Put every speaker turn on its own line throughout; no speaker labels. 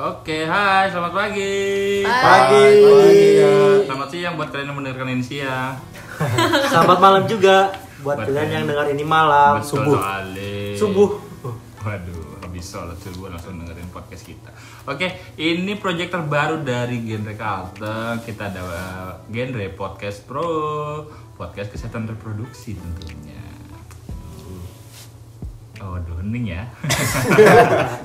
Oke, hai, selamat pagi.
Pagi.
Selamat siang buat kalian yang mendengarkan ini siang.
Selamat malam juga buat
Buat
kalian
kalian.
yang dengar ini malam
Betul
subuh.
sekali.
Subuh.
Waduh, habis sholat subuh langsung dengerin podcast kita. Oke, ini project terbaru dari Genre Kalteng. Kita ada uh, Genre Podcast Pro, podcast kesehatan reproduksi tentunya. Oh, aduh, hening ya.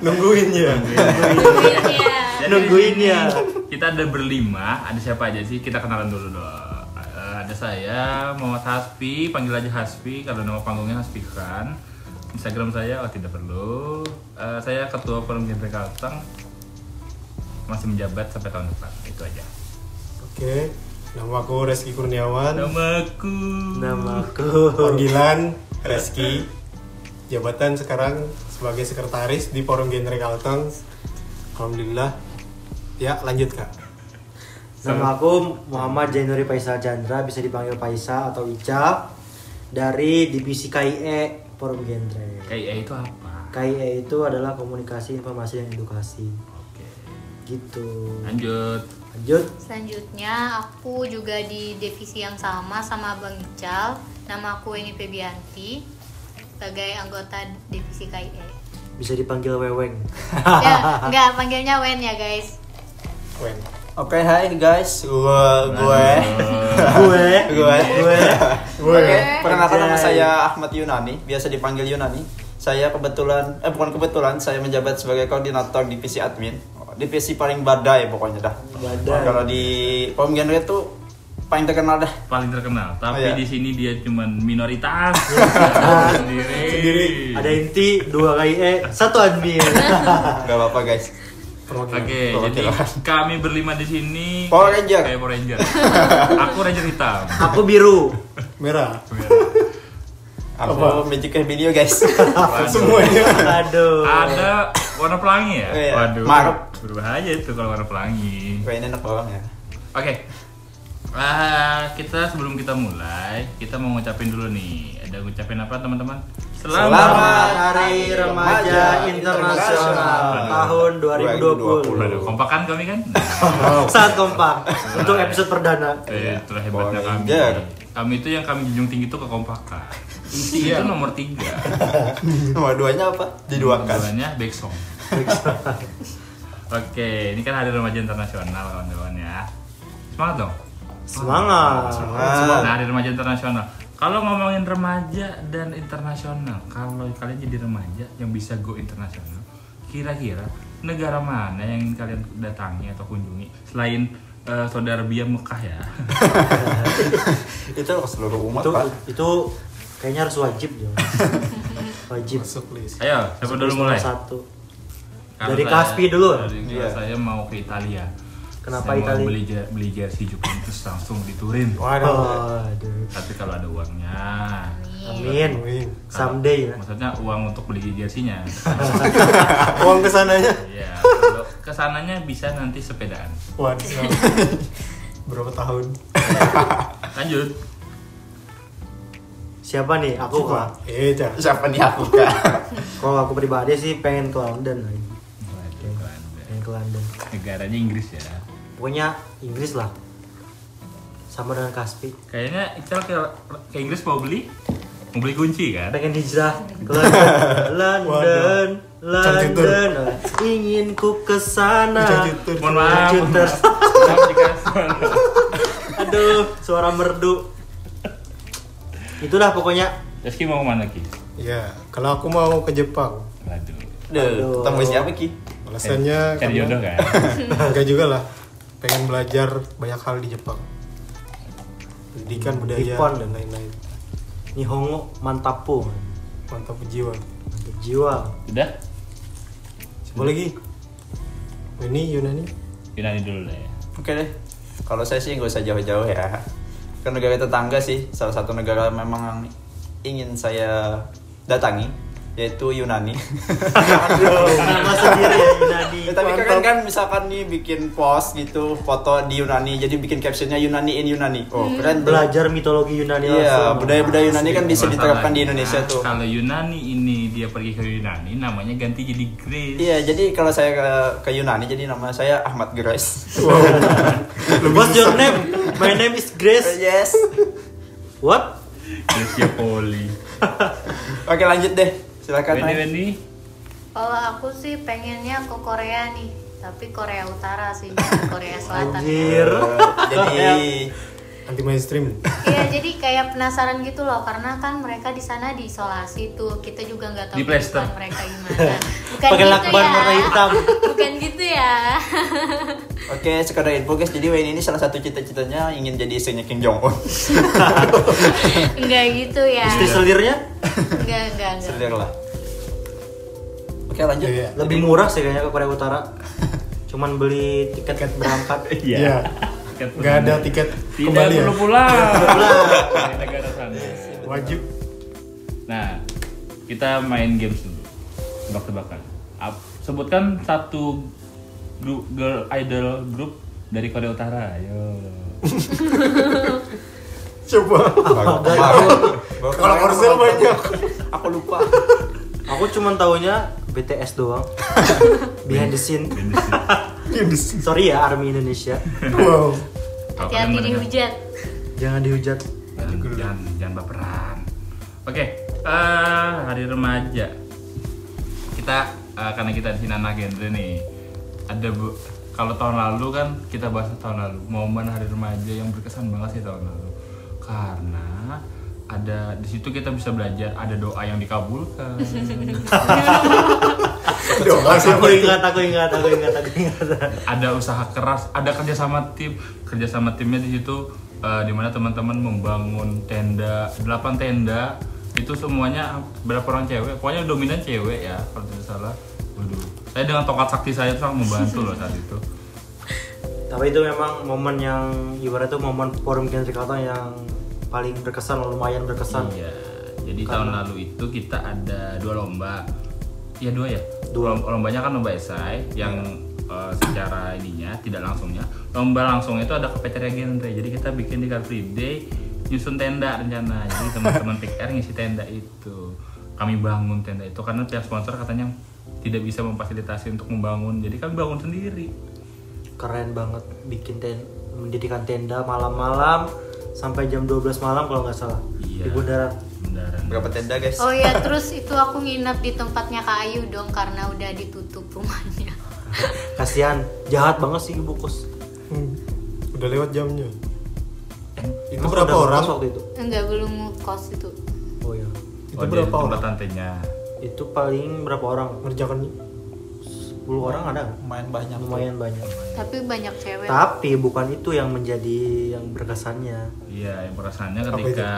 Nah,
nungguin ya
Iya.
Jadi
Nungguin ya.
Kita ada berlima, ada siapa aja sih? Kita kenalan dulu dong. Eh, ada saya, Muhammad Haspi, panggil aja Haspi. Kalau nama panggungnya Haspi Khan. Instagram saya, oh tidak perlu. Eh, saya ketua forum Genre Kalteng. Masih menjabat sampai tahun depan, itu aja.
oke nama aku Reski Kurniawan
Namaku.
Namaku.
panggilan Reski jabatan sekarang sebagai sekretaris di Forum Genre Kalteng alhamdulillah ya lanjut kak
Nama aku Muhammad Jainuri Faisal Chandra, bisa dipanggil Faisal atau Ica dari divisi KIE Forum Genre.
KIA Eh, itu apa?
KIE itu adalah komunikasi informasi dan edukasi.
Oke.
Gitu.
Lanjut.
Lanjut.
Selanjutnya aku juga di divisi yang sama sama Bang Ical. Nama aku Eni Febianti sebagai anggota divisi KIE.
Bisa dipanggil Weweng.
ya, enggak panggilnya Wen ya guys.
Wen
Oke, hai guys.
gue gue
Gue. Gue.
Gue.
gue
Oke,
Oke.
perkenalkan nama
Anjay.
saya Ahmad Yunani, biasa dipanggil Yunani. Saya kebetulan eh bukan kebetulan, saya menjabat sebagai koordinator divisi admin. Divisi paling badai pokoknya dah.
Badai.
Kalau di Pom Genre tuh paling terkenal dah.
Paling terkenal, tapi
Oh, iya.
di sini dia cuman minoritas. sendiri.
Sendiri.
Ada inti, dua KIE, satu admin.
Gak apa-apa guys.
perwakilan
Oke,
Hmm, Oke,
jadi
lah.
kami berlima di sini.
Power Ranger.
Kayak Power Ranger. Aku Ranger hitam.
Aku biru.
merah
Aku Magic video guys.
Waduh.
semuanya
Aduh.
Ada warna pelangi ya?
Iya.
Waduh.
Maruk.
Berbahaya itu kalau warna pelangi.
Gue ini enak bawang ya.
Oke. Ah, kita sebelum kita mulai, kita mau ngucapin dulu nih. Ada ngucapin apa teman-teman?
Selamat Hari Remaja Internasional tahun 2020.
Waduh, kompakan kami kan?
Sangat kompak untuk episode perdana.
Eh, itulah
Iya. Power
hebatnya kami.
Ranger.
Kami itu yang kami junjung tinggi itu kekompakan. Inti itu nomor tiga.
Nomor duanya apa? Diduakan.
Dua-duanya back song. Oke, ini kan hari remaja internasional kawan-kawan ya. Semangat dong.
Semangat.
Semangat. Nah, hari remaja internasional. Kalau ngomongin remaja dan internasional, kalau kalian jadi remaja yang bisa go internasional, kira-kira negara mana yang ingin kalian datangi atau kunjungi selain eh, saudara Bia Mekah ya?
Itu ke seluruh umat,
Itu
Pak.
itu kayaknya harus wajib ya. Wajib.
masuk list
Ayo, siapa dulu
Terus
mulai?
nomor Satu.
Kalau
Dari
saya-
Kaspi dulu.
dari- kalau
Iya.
Saya mau ke Italia. saya
Kenapa
mau
Italia?
Beli, jer- beli jersey Juventus langsung di Turin.
waduh
Waduh.
Tapi kalau ada uangnya.
Amin.
Amin.
Someday ya.
Maksudnya uang untuk beli jersinya.
uang kesananya
Iya. Kalau kesananya bisa nanti sepedaan.
waduh berapa tahun
Lanjut.
Siapa nih? Aku kok.
eh Cak.
Siapa nih aku, Kak?
Kalau aku pribadi sih pengen ke London lagi.
Waduh, Belanda.
Pengen ke London.
kan, Negaranya Inggris ya.
Pokoknya Inggris lah. Sama dengan Kaspi.
Kayaknya Ical ke, ke Inggris mau beli, mau beli kunci kan?
pengen hijrah ke London, London,
Cang Citur.
London, ingin ku kesana.
Cang Citur.
Mohon maaf.
Lanjut,
mohon
Ter.
maaf. Maaf dikasar.
Aduh, suara merdu. Itulah pokoknya.
Reski mau kemana ki?
ya kalau aku mau ke Jepang
Waduh.
Aduh.
Duh, ketemu siapa, Ki?
alasannya
Cari
karena-
jodoh kan?
Enggak juga lah. Pengen belajar banyak hal di Jepang. Pendidikan budaya
Nippon.
dan lain-lain.
Nihongo mantapu,
Mantap jiwa.
mantap jiwa.
Udah?
Siapa lagi? Ini Yunani.
Yunani dulu lah ya.
Oke deh. Kalau saya sih nggak usah jauh-jauh ya. Ke negara tetangga sih, salah satu negara memang yang ingin saya datangi yaitu Yunani.
Nama sendiri ya Yunani.
Ya, tapi
Mantap.
kalian kan misalkan nih bikin post gitu foto di Yunani, jadi bikin captionnya Yunani in Yunani. Oh, keren tuh.
Belajar mitologi Yunani
Iya,
langsung.
budaya-budaya Yunani kan bisa diterapkan di
Masalahnya,
Indonesia tuh.
Nah, Kalau Yunani ini dia pergi ke Yunani, namanya ganti jadi Grace.
Iya, jadi kalau saya ke, ke Yunani, jadi nama saya Ahmad Grace.
Wow.
What's your name? My name is Grace.
yes.
What?
Grace Poli.
Oke lanjut deh, silakan.
Weni
Mai.
Weni.
Kalau aku sih pengennya ke Korea nih, tapi Korea Utara sih, bukan Korea Selatan.
Anjir.
Iya. Eh, jadi
Anti mainstream.
Iya, jadi kayak penasaran gitu loh, karena kan mereka di sana diisolasi tuh, kita juga nggak tahu
Di plaster.
kehidupan mereka gimana. Bukan
Pakai
gitu
lakban
ya.
warna hitam.
Bukan gitu ya.
oke sekedar info guys, jadi Wayne ini salah satu cita-citanya ingin jadi istrinya Kim Jong Un.
Enggak gitu ya.
Istri selirnya
Enggak, enggak, enggak.
Selir lah. Oke lanjut.
Iya.
lebih murah sih kayaknya ke Korea Utara. Cuman beli tiket berangkat.
Iya.
Tiket
Nggak ada
pulang.
tiket
Tidak
kembali ya.
perlu pulang. Dari negara sana.
Wajib.
Nah, kita main games dulu. Tebak-tebakan. Ap- Sebutkan satu grup girl idol group dari Korea Utara. Ayo.
Coba.
Ah, Baru- baru- baru-
Kalau Korsel banyak.
Aku lupa.
Aku cuman taunya BTS doang. Behind the scene. Sorry ya Army Indonesia.
Kalau
Wow.
kalian
Hati-hati
mendengar-
dihujat.
Jangan dihujat.
Jangan, jangan, jangan baperan. Oke, eh, hari remaja. Kita eh, karena kita di sini anak genre nih. Ada bu- kalau tahun lalu kan kita bahas tahun lalu momen hari remaja yang berkesan banget sih tahun lalu. Karena ada di situ kita bisa belajar ada doa yang dikabulkan.
Doa siapa
Aku
itu?
ingat, aku ingat, aku ingat, aku ingat.
ada usaha keras, ada kerjasama tim, kerjasama timnya di situ eh, di dimana teman-teman membangun tenda, 8 tenda itu semuanya berapa orang cewek, pokoknya dominan cewek ya kalau tidak salah. Waduh, saya dengan tongkat sakti saya tuh sangat membantu loh saat itu.
Tapi itu memang momen yang ibarat itu momen forum Genre Kalteng yang paling berkesan, lumayan berkesan.
Iya, jadi tahun lalu itu kita ada dua lomba, ya dua ya,
Dua.
Lom- lombanya kan lomba esai yang
Iya.
eh, secara ininya tidak langsungnya, lomba langsung itu ada cafeteria genre, jadi kita bikin di Car Free Day nyusun tenda rencana, jadi teman-teman PR ngisi tenda itu, kami bangun tenda itu karena pihak sponsor katanya tidak bisa memfasilitasi untuk membangun, jadi kami bangun sendiri.
Keren banget bikin ten mendirikan tenda malam-malam sampai jam 12 malam kalau nggak salah di bundaran.
Bundaran.
Berapa tenda guys?
Oh ya, terus itu aku nginep di tempatnya Kak Ayu dong karena udah ditutup rumahnya.
Kasihan, jahat banget sih Ibu Kus.
Hmm. Udah lewat jamnya. Itu
Mas
berapa
udah
orang?
ngekos waktu itu?
Enggak belum ngekos itu.
Oh iya.
Oh,
Itu
jadi
berapa
tempat
orang?
tantenya.
Itu paling berapa orang?
Ngerjakannya?
10 orang ada
iya.
nggak?
Main banyak.
Lumayan banyak.
Tapi banyak cewek.
Tapi bukan itu yang menjadi yang berkesannya.
Iya, yang perasaannya
Apa
ketika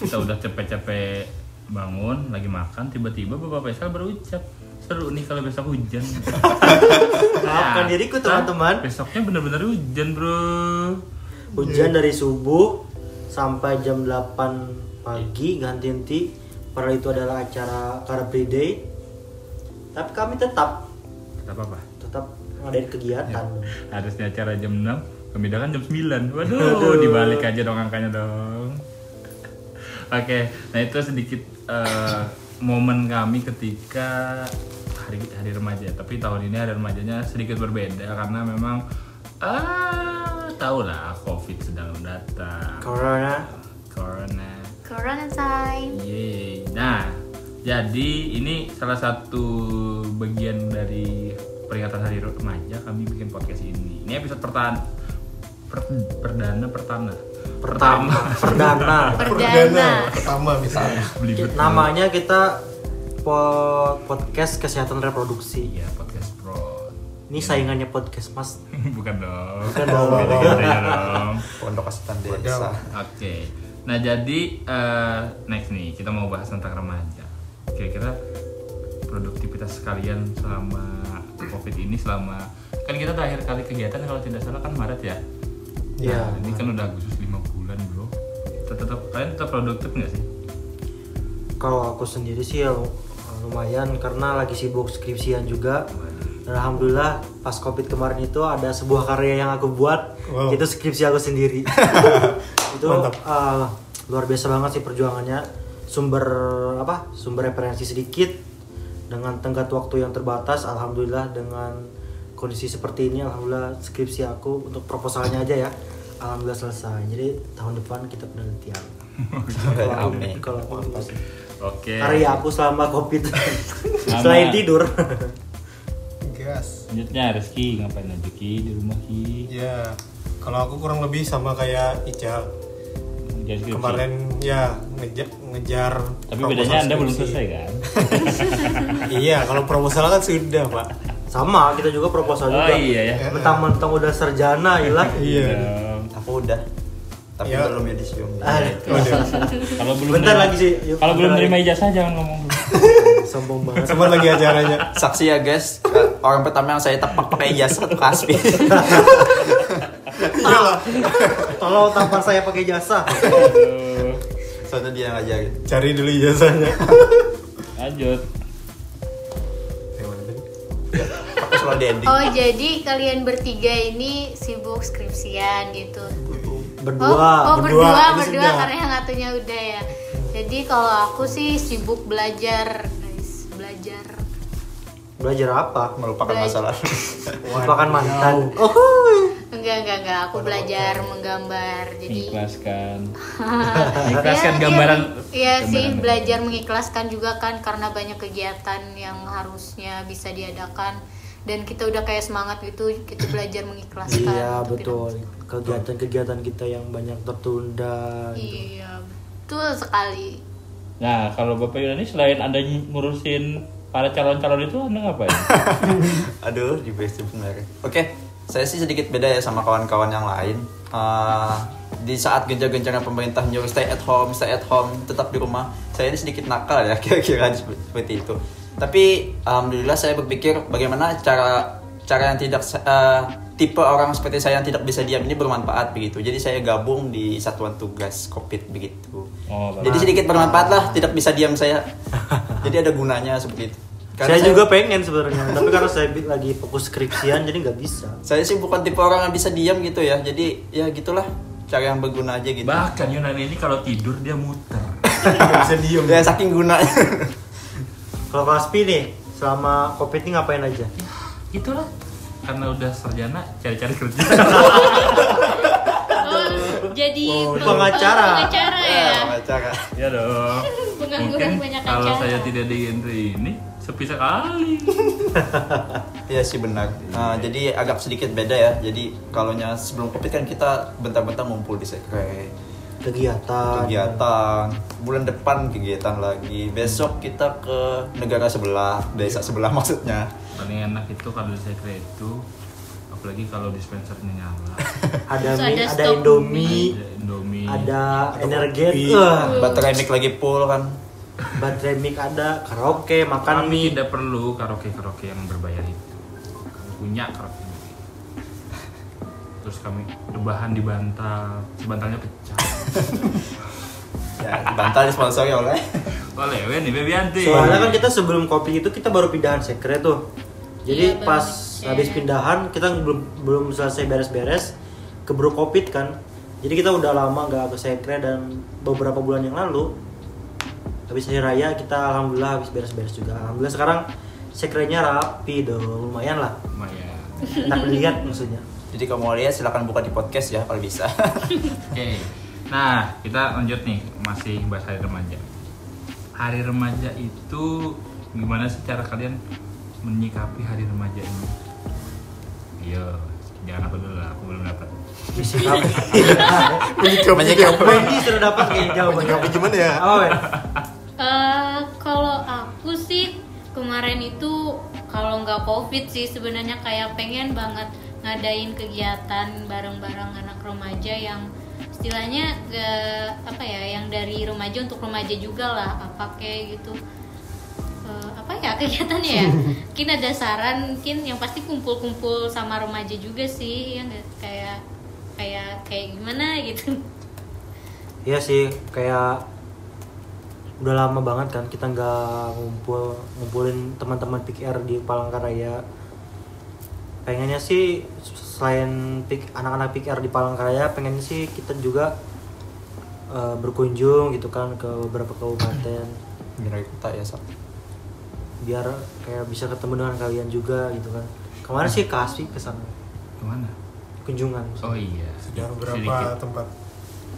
kita udah capek-capek bangun, lagi makan, tiba-tiba Bapak Faisal berucap, seru nih kalau besok hujan.
Maafkan diriku, teman-teman.
Nah, Besoknya bener-bener hujan, bro.
Hujan dari subuh sampai jam 8 pagi ganti henti. Padahal itu adalah acara Carpe Day. Tapi kami tetap
Gak apa-apa.
tetap ngadain kegiatan.
Harusnya acara jam 6, kemindahkan jam 9. Waduh, dibalik aja dong angkanya dong. Oke, nah itu sedikit eh, momen kami ketika hari hari remaja. Tapi tahun ini hari remajanya sedikit berbeda karena memang ah tahu lah covid sedang datang.
Corona
Corona.
Corona time.
Yeay. Iya, Nah, jadi ini salah satu bagian dari peringatan Hari Remaja kami bikin podcast ini. Ini episode pertama per, perdana pertama.
pertama perdana.
Nah.
Perdana.
Pertama misalnya.
Beli
Ki-
betul.
Namanya kita po- podcast kesehatan reproduksi.
Iya, podcast pro.
Ini saingannya podcast Mas.
Bukan dong.
Bukan dong.
Beda- bedanya dong.
Pondok Asutan Desa.
Oke. Nah, jadi eh, next nih kita mau bahas tentang remaja. Kira-kira produktivitas kalian selama Covid ini selama kan kita terakhir kali kegiatan kalau tidak salah kan Maret ya.
Iya.
Nah, ini kan udah Agustus 5 bulan, Bro. Tetap kalian tetap produktif nggak sih?
Kalau aku sendiri sih ya eh, lumayan karena lagi sibuk skripsian juga. Dan alhamdulillah pas covid kemarin itu ada sebuah karya yang aku buat
Wow.
itu skripsi aku sendiri. itu
Mantap.
eh, luar biasa banget sih perjuangannya. Sumber apa? Sumber referensi sedikit dengan tenggat waktu yang terbatas. Alhamdulillah dengan kondisi seperti ini, alhamdulillah skripsi aku untuk proposalnya aja ya. Alhamdulillah selesai. Jadi tahun depan kita penelitian. Kalau aku-
Ya, Amin.
kalau aku lulus.
Oke.
Karya aku selama covid selain tidur.
Gas.
Selanjutnya Rizky ngapain aja Ki di rumah Ki?
Ya, kalau aku kurang lebih sama kayak Ical.
Ngejar skripsi.
Kemarin ya ngejar, ngejar
Iya, Tapi
proposal
bedanya Anda belum
skripsi.
selesai kan?
iya, kalau proposal kan sudah, Pak.
Sama, kita juga proposal
Oh
juga.
iya ya.
Mentang-mentang udah serjana, ilah.
Iya.
Aku udah. Tapi
Ya.
belum yudisium.
Ah,
Waduh,
Kalau belum
Bentar
nerima-
lagi sih, yuk,
Kalau belum
bentar
terima ijazah jangan ngomong dulu.
Sombong banget.
sempat lagi acaranya.
Saksi ya guys, orang pertama yang saya tepak pakai ijazah itu Kaspi.
Iyalah,
Tolong tampar saya pakai jasa.
Aduh.
Soalnya dia yang ngajarin.
cari dulu ijazahnya.
Lanjut.
Yang mana tadi?
Aku selalu di ending.
Oh jadi kalian bertiga ini sibuk skripsian gitu. oh, oh
Berdua.
berdua,
berdua, ini
berdua,
sudah.
karena yang satunya udah ya. Jadi kalau aku sih sibuk belajar guys, belajar.
Belajar apa?
Melupakan masalah.
Melupakan mantan. Oh,
Enggak enggak enggak, aku belajar menggambar. Jadi
Ikhlaskan.
Ya,
Ikhlaskan
iya,
gambaran.
Iya sih
gambaran.
belajar mengikhlaskan juga kan karena banyak kegiatan yang harusnya bisa diadakan dan kita udah kayak semangat gitu kita belajar mengikhlaskan.
iya
untuk tidak-
betul. Kegiatan-kegiatan kita yang banyak tertunda. gitu.
Iya betul sekali.
Nah, kalau Bapak Yunani selain Anda ngurusin para calon-calon itu Anda ngapain?
Aduh, di base sebenarnya. Oke, saya sih sedikit beda ya sama kawan-kawan yang lain. Eh, di saat gencar-gencarnya pemerintah nyuruh stay at home, stay at home, tetap di rumah, saya ini sedikit nakal ya kira-kira sep- seperti itu. Tapi alhamdulillah saya berpikir bagaimana cara cara yang tidak sa- eh, tipe orang seperti saya yang tidak bisa diam ini bermanfaat begitu. Jadi saya gabung di satuan tugas Covid begitu.
Oh,
Jadi sedikit bermanfaat lah, tidak bisa diam saya. Jadi ada gunanya seperti itu. Karena
Kan Saya juga pengen sebenarnya, tapi karena saya bi- lagi fokus skripsian jadi nggak bisa.
saya sih bukan tipe orang yang bisa diam gitu ya jadi ya gitulah cara yang berguna aja gitu
Bahkan Yunani ini kalau tidur dia muter.
Nggak bisa diem.
ya saking gunanya
Kalau Kaspi nih, selama covid ini ngapain aja?
Itulah karena udah serjana cari-cari kerja.
jadi
Oh,
peng-
pengacara. Iya,
pengacara
iya.
ya.
Ah, cara
ya dong.
Pengangguran
Mungkin
banyak
kalau
acara.
saya tidak di genre ini sepi sekali.
Iya sih benar. Nah, jadi agak sedikit beda ya. Jadi kalaunya sebelum covid kan kita bentar-bentar ngumpul di sekre
Kegiatan.
kegiatan. Bulan depan kegiatan lagi. Besok kita ke negara sebelah, desa sebelah maksudnya.
Paling enak itu kalau di sekre itu apalagi kalau dispensernya nyala.
Ada
Terus ada
mie, ada
stok
Indomie,
Ada Indomie.
ada energen,
kopi.
eh,
Baterai mic lagi full kan.
baterai mic ada, karaoke, makan
Kami
mie.
tidak perlu karaoke-karaoke yang berbayar itu. Kami punya karaoke sendiri. Terus kami rebahan di bantal, bantalnya pecah.
Ya, bantal disponsori oleh.
Kok lewe nih Bebianti?
Soalnya kan kita sebelum kopi itu kita baru pindahan sekre tuh. Jadi
Iya, baru
pas
ngecek.
habis pindahan kita belum belum selesai beres-beres keburu covid kan. Jadi kita udah lama nggak ke sekre dan beberapa bulan yang lalu habis hari raya kita alhamdulillah habis beres-beres juga. Alhamdulillah sekarang sekrenya rapi dong lumayan lah.
lumayan.
Enak dilihat maksudnya.
Jadi kalau mau lihat silahkan buka di podcast ya kalau bisa.
Oke. Nah, kita lanjut nih masih bahas hari remaja. Hari remaja itu gimana sih cara kalian menyikapi hari remaja ini? Iya, jangan aku dulu lah, aku belum dapat.
Disikapi.
Iya,
Menyikapi
Wendy sudah dapat kayaknya jawabannya.
Tapi gimana ya?
Oh, Wen.
Eh, kalau aku sih kemarin itu kalau nggak covid sih sebenarnya kayak pengen banget ngadain kegiatan bareng-bareng anak remaja yang istilahnya eh, apa ya yang dari remaja untuk remaja juga lah apa kayak gitu Eh, apa ya kegiatannya ya mungkin ada saran mungkin yang pasti kumpul-kumpul sama remaja juga sih yang kayak kayak kayak gimana gitu
Iya sih, kayak udah lama banget kan kita nggak ngumpul ngumpulin teman-teman PKR di Palangkaraya pengennya sih selain pik- anak-anak PKR di Palangkaraya pengennya sih kita juga eh, berkunjung gitu kan ke beberapa kabupaten
Generasi kita ya Sob.
biar kayak bisa ketemu dengan kalian juga gitu kan kemarin sih kasih kesan
Kemana?
kunjungan
Oh iya.
Sudah beberapa
Sedikit.
tempat.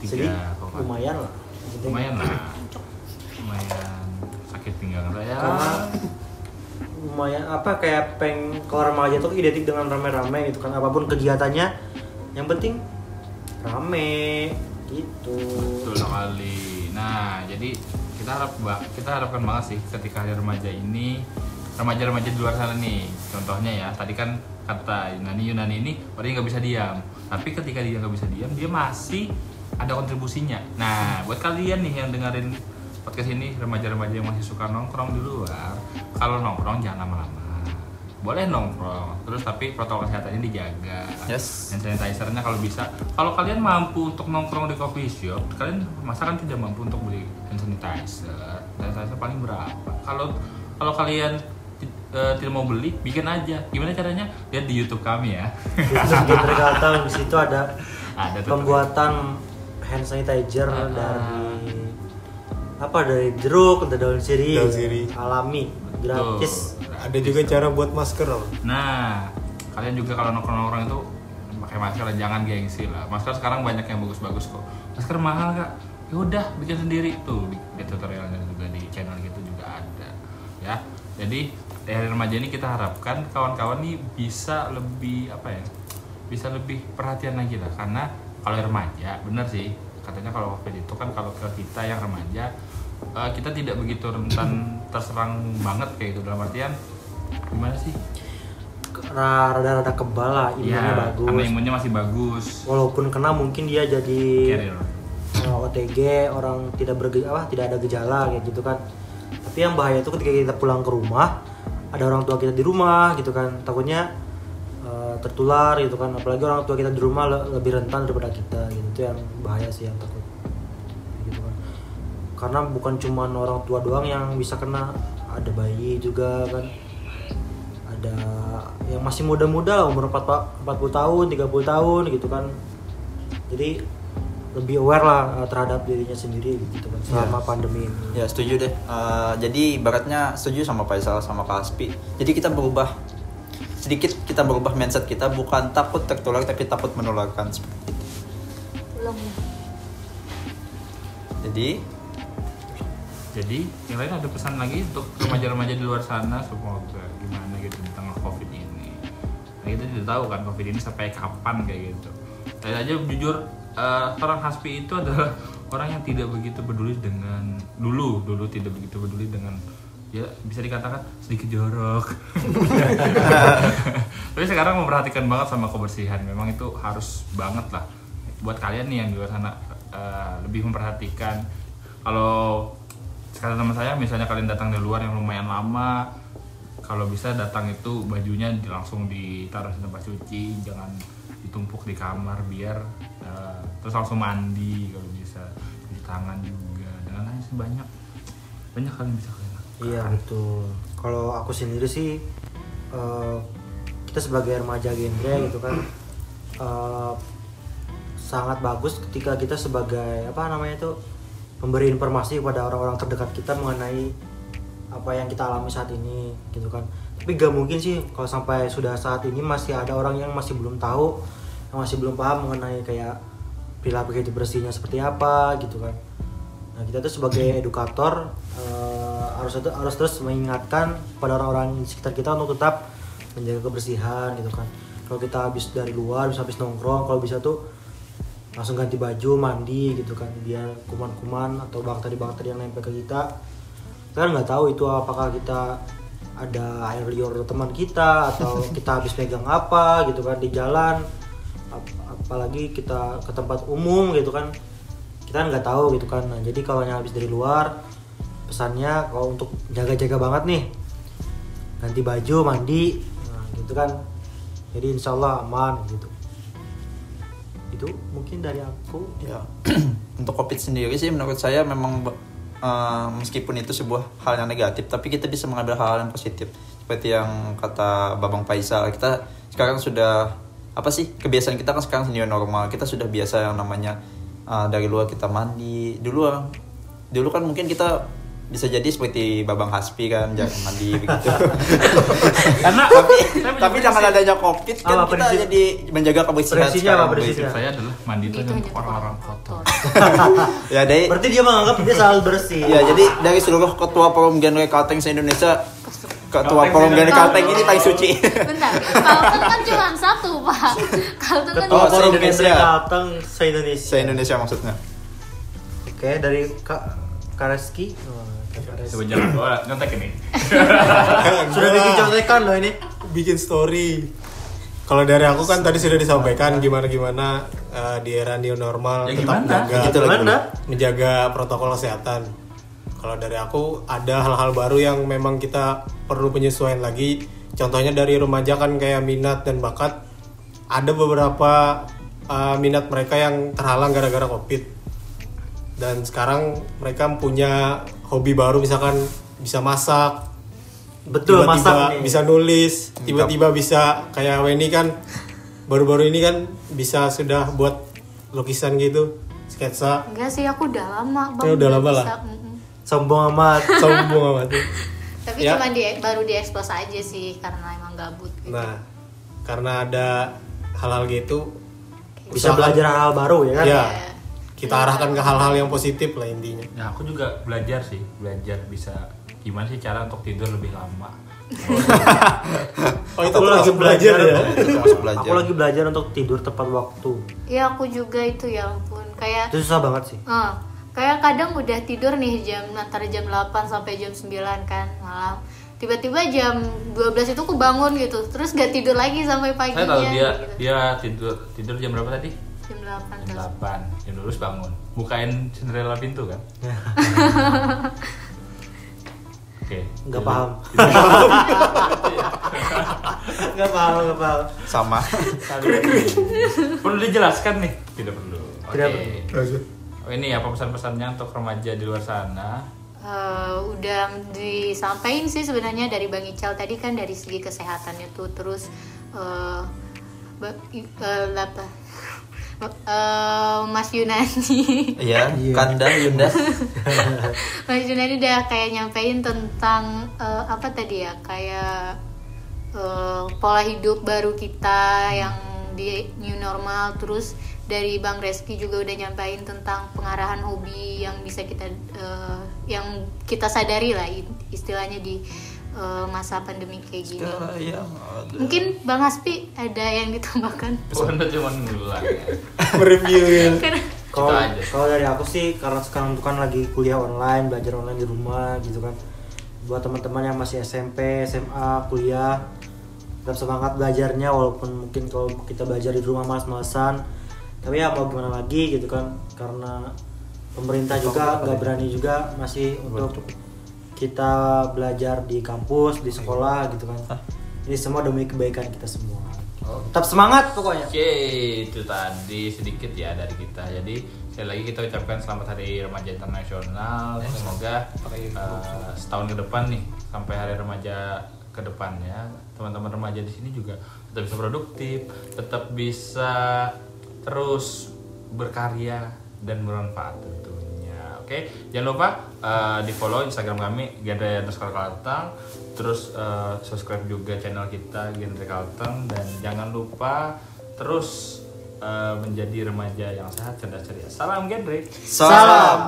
Jadi,
Tiga koma.
lumayan lah Gitu.
Lumayan lah. Lumayan sakit pinggang saya.
karena lumayan apa kayak peng kalau remaja tuh identik dengan rame-rame gitu kan apapun kegiatannya yang penting rame gitu
Betul sekali. Nah, jadi kita harap ba- kita harapkan banget sih ketika hari remaja ini remaja-remaja di luar sana nih. Contohnya ya, tadi kan kata Yunani Yunani ini orangnya nggak bisa diam. Tapi ketika dia nggak bisa diam, dia masih ada kontribusinya. Nah, buat kalian nih yang dengerin podcast ini remaja-remaja yang masih suka nongkrong di luar, kalau nongkrong jangan lama-lama. Boleh nongkrong, terus tapi protokol kesehatannya dijaga
Yes.
hand sanitizer-nya kalau bisa. Kalau kalian mampu untuk nongkrong di coffee shop, kalian masa kan tidak mampu untuk beli hand sanitizer. Hand sanitizer paling berapa? Kalau kalau kalian ti- eh, tidak mau beli, bikin aja. Gimana caranya? Lihat di YouTube kami ya.
Terus di Trigalaton, di situ ada
Ada tuh.
pembuatan hand sanitizer
Ah.
dari apa dari jeruk dari daun sirih,
Daun sirih.
alami gratis
Tuh.
Ada juga cara buat masker. loh.
Nah, kalian juga kalau nongkrong-nongkrong itu pakai masker lah, jangan gengsi lah. Masker sekarang banyak yang bagus-bagus kok. Masker mahal kak? Ya udah bikin sendiri tuh di, di tutorialnya juga di channel gitu juga ada. Ya, jadi di hari remaja ini kita harapkan kawan-kawan nih bisa lebih apa ya? Bisa lebih perhatian lagi lah karena kalau remaja bener sih katanya kalau covid itu kan kalau ke kita yang remaja eh, kita tidak begitu rentan terserang banget kayak itu dalam artian gimana sih
Ra- rada-rada kebal lah imunnya
Iya,
bagus
karena imunnya masih bagus.
walaupun kena mungkin dia jadi
Carrier.
eh, OTG orang tidak berge apa tidak ada gejala kayak gitu kan tapi yang bahaya itu ketika kita pulang ke rumah ada orang tua kita di rumah gitu kan takutnya eh, tertular gitu kan apalagi orang tua kita di rumah le- lebih rentan daripada kita gitu itu yang bahaya sih yang takut gitu kan karena bukan cuma orang tua doang yang bisa kena ada bayi juga kan ada yang masih muda-muda lah umur 40 40 tahun 30 tahun gitu kan jadi lebih aware lah eh, terhadap dirinya sendiri gitu kan selama pandemi ini
Ya setuju deh. Eh, jadi ibaratnya setuju sama Faisal sama Kaspi. Jadi kita berubah sedikit kita berubah mindset kita bukan takut tertular tapi takut menularkan.
belum
Jadi
Jadi, yang lain ada pesan lagi untuk remaja-remaja di luar sana semoga gimana gitu di tengah Covid ini. Nah, kita tidak tahu kan Covid ini sampai kapan kayak gitu. Saya aja jujur eh, orang Haspi itu adalah orang yang tidak begitu peduli dengan dulu, dulu tidak begitu peduli dengan ya bisa dikatakan sedikit jorok. Tapi sekarang memperhatikan banget sama kebersihan. Memang itu harus banget lah buat kalian nih yang di luar sana eh, lebih memperhatikan kalau kata teman saya misalnya kalian datang dari luar yang lumayan lama kalau bisa datang itu bajunya di- langsung ditaruh di tempat cuci jangan ditumpuk di kamar biar eh, terus langsung mandi kalau bisa cuci tangan juga dan lain sebanyak banyak kalian bisa kalian lakukan.
Iya betul. Kalau aku sendiri sih eh, kita sebagai remaja genre gitu kan eh, sangat bagus ketika kita sebagai apa namanya itu memberi informasi kepada orang-orang terdekat kita mengenai apa yang kita alami saat ini gitu kan. Tapi gak mungkin sih kalau sampai sudah saat ini masih ada orang yang masih belum tahu, yang masih belum paham mengenai kayak perilaku hidup bersihnya seperti apa gitu kan. Nah kita tuh sebagai edukator eh, harus harus terus mengingatkan pada orang-orang di sekitar kita untuk tetap menjaga kebersihan gitu kan. Kalau kita habis dari luar, bisa habis nongkrong, kalau bisa tuh langsung ganti baju, mandi gitu kan, biar kuman-kuman atau bakteri-bakteri yang nempel ke kita. Kita kan nggak tahu itu apakah kita ada air liur teman kita atau kita habis pegang apa gitu kan di jalan Ap- apalagi kita ke tempat umum gitu kan kita kan nggak tahu gitu kan Nah, jadi kalau yang habis dari luar pesannya kalau untuk jaga-jaga banget nih ganti baju mandi nah, gitu kan jadi insya Allah aman gitu itu mungkin dari aku
ya untuk covid sendiri sih menurut saya memang eh, meskipun itu sebuah hal yang negatif tapi kita bisa mengambil hal yang positif seperti yang kata Babang Faisal kita sekarang sudah apa sih kebiasaan kita kan sekarang new normal kita sudah biasa yang namanya eh, dari luar kita mandi dulu ah, dulu kan mungkin kita bisa jadi seperti Babang Haspi kan jarang mandi begitu
Karena
tapi
saya punya
tapi jangan
prinsip.
adanya covid kan
Apa
kita
prinsip-
jadi menjaga kebersihan
prinsipnya apa
sekarang
prinsipnya?
Prinsip saya adalah mandi Iya. itu
Itu
hanya
hanya
untuk orang-orang kotor.
kotor.
ya dari
Eh, Berarti dia menganggap dia selalu bersih.
ya jadi dari seluruh ketua forum genre kalteng se Indonesia ketua
Kalteng
forum genre
se-Indonesia.
kalteng ini tang suci
Bentar, Kalteng kan cuma satu, Pak. Kalteng kan
Ketua
Kalau
Oh,
forum
se-Indonesia.
Indonesia datang se Indonesia.
se Indonesia maksudnya
Oke, dari Kak Kareski. Oh, Kak Kareski.
Coba jalan bawa nyontek ini.
Sudah bikin contekan loh ini.
bikin story. Kalau dari aku kan tadi sudah disampaikan gimana gimana eh, di era new normal
Ya
tetap
gimana?
menjaga
Gitu lagi
Gimana?
menjaga protokol kesehatan. Kalau dari aku ada hal-hal baru yang memang kita perlu penyesuaian lagi. Contohnya dari remaja kan kayak minat dan bakat ada beberapa eh, minat mereka yang terhalang gara-gara covid dan sekarang mereka punya hobi baru misalkan bisa masak
Betul, masak
tiba-tiba
nih.
bisa nulis tiba-tiba bisa kayak Weni kan baru-baru ini kan bisa sudah buat lukisan gitu sketsa
Enggak sih, aku udah lama
Ya, udah lama
Bisa,
lah.
mm-mm.
Sombong amat.
sombong amat tuh.
Tapi
Ya.
cuma di, baru diekspos aja sih karena emang gabut gitu.
nah karena ada hal-hal gitu
Bisa
usahakan-
belajar hal baru ya kan?
ya kita arahkan ke hal-hal yang positif lah intinya
Ya aku juga belajar sih, belajar bisa gimana sih cara untuk tidur lebih lama.
oh
Aku lagi
termasuk
belajar ya.
Itu termasuk belajar.
Aku lagi belajar untuk tidur tepat waktu.
Ya aku juga itu ya ampun kayak
Itu susah banget sih.
eh, kayak kadang udah tidur nih jam antara jam 8 sampai jam 9 kan malam. Tiba-tiba jam 12 itu aku bangun gitu. Terus gak tidur lagi sampai paginya.
Saya tahu dia
gitu.
dia tidur tidur jam berapa tadi?
Jam 8
Jam
terus.
8. Jam lurus bangun. Bukain jendela pintu kan? Oke.
Nggak paham. Nggak paham, nggak paham.
sama
perlu dijelaskan nih? Tidak perlu. Oke.
Tidak
Oh, ini apa pesan-pesannya untuk remaja di luar sana?
Eh, udah disampaikan sih sebenarnya dari Bang Ical tadi kan dari segi kesehatannya tuh terus eh, ba- i- eh, apa Eh, Mas Yunani
ya kanda yunda
Mas Yunani udah kayak nyampein tentang eh, apa tadi ya kayak eh, pola hidup baru kita yang di new normal terus dari Bang Reski juga udah nyampein tentang pengarahan hobi yang bisa kita eh, yang kita sadari lah i- istilahnya di eh, masa pandemi kayak gini.
ya
Mungkin Bang Aspi ada yang ditambahkan?
Pesan cuma ngulang. ya?
mereview ya
Kalau
Kita aja.
kalau dari aku sih karena sekarang bukan lagi kuliah online, belajar online di rumah gitu kan. Buat teman-teman yang masih SMP, SMA, kuliah tetap semangat belajarnya walaupun mungkin kalau kita belajar di rumah malas-malasan. Tapi ya mau gimana lagi gitu kan karena pemerintah juga nggak berani juga masih untuk kita belajar di kampus, di sekolah gitu kan. Ini semua demi kebaikan kita semua. Tetap semangat pokoknya.
Oke, itu tadi sedikit ya dari kita. Jadi sekali lagi kita ucapkan selamat Hari Remaja Internasional. Semoga eh, setahun ke depan nih sampai Hari Remaja ke depannya teman-teman remaja di sini juga tetap bisa produktif, tetap bisa terus berkarya dan bermanfaat tentunya. Ya, Oke, jangan lupa eh, di follow Instagram kami Genre underscore Kalteng, terus eh, subscribe juga channel kita Genre Kalteng dan jangan lupa terus eh, menjadi remaja yang sehat, cerdas, ceria. Salam Genre.
salam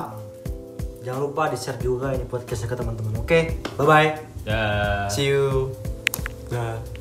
Jangan lupa di share juga ini podcastnya ke teman-teman. Oke, bye bye.
Dah.
see you
nah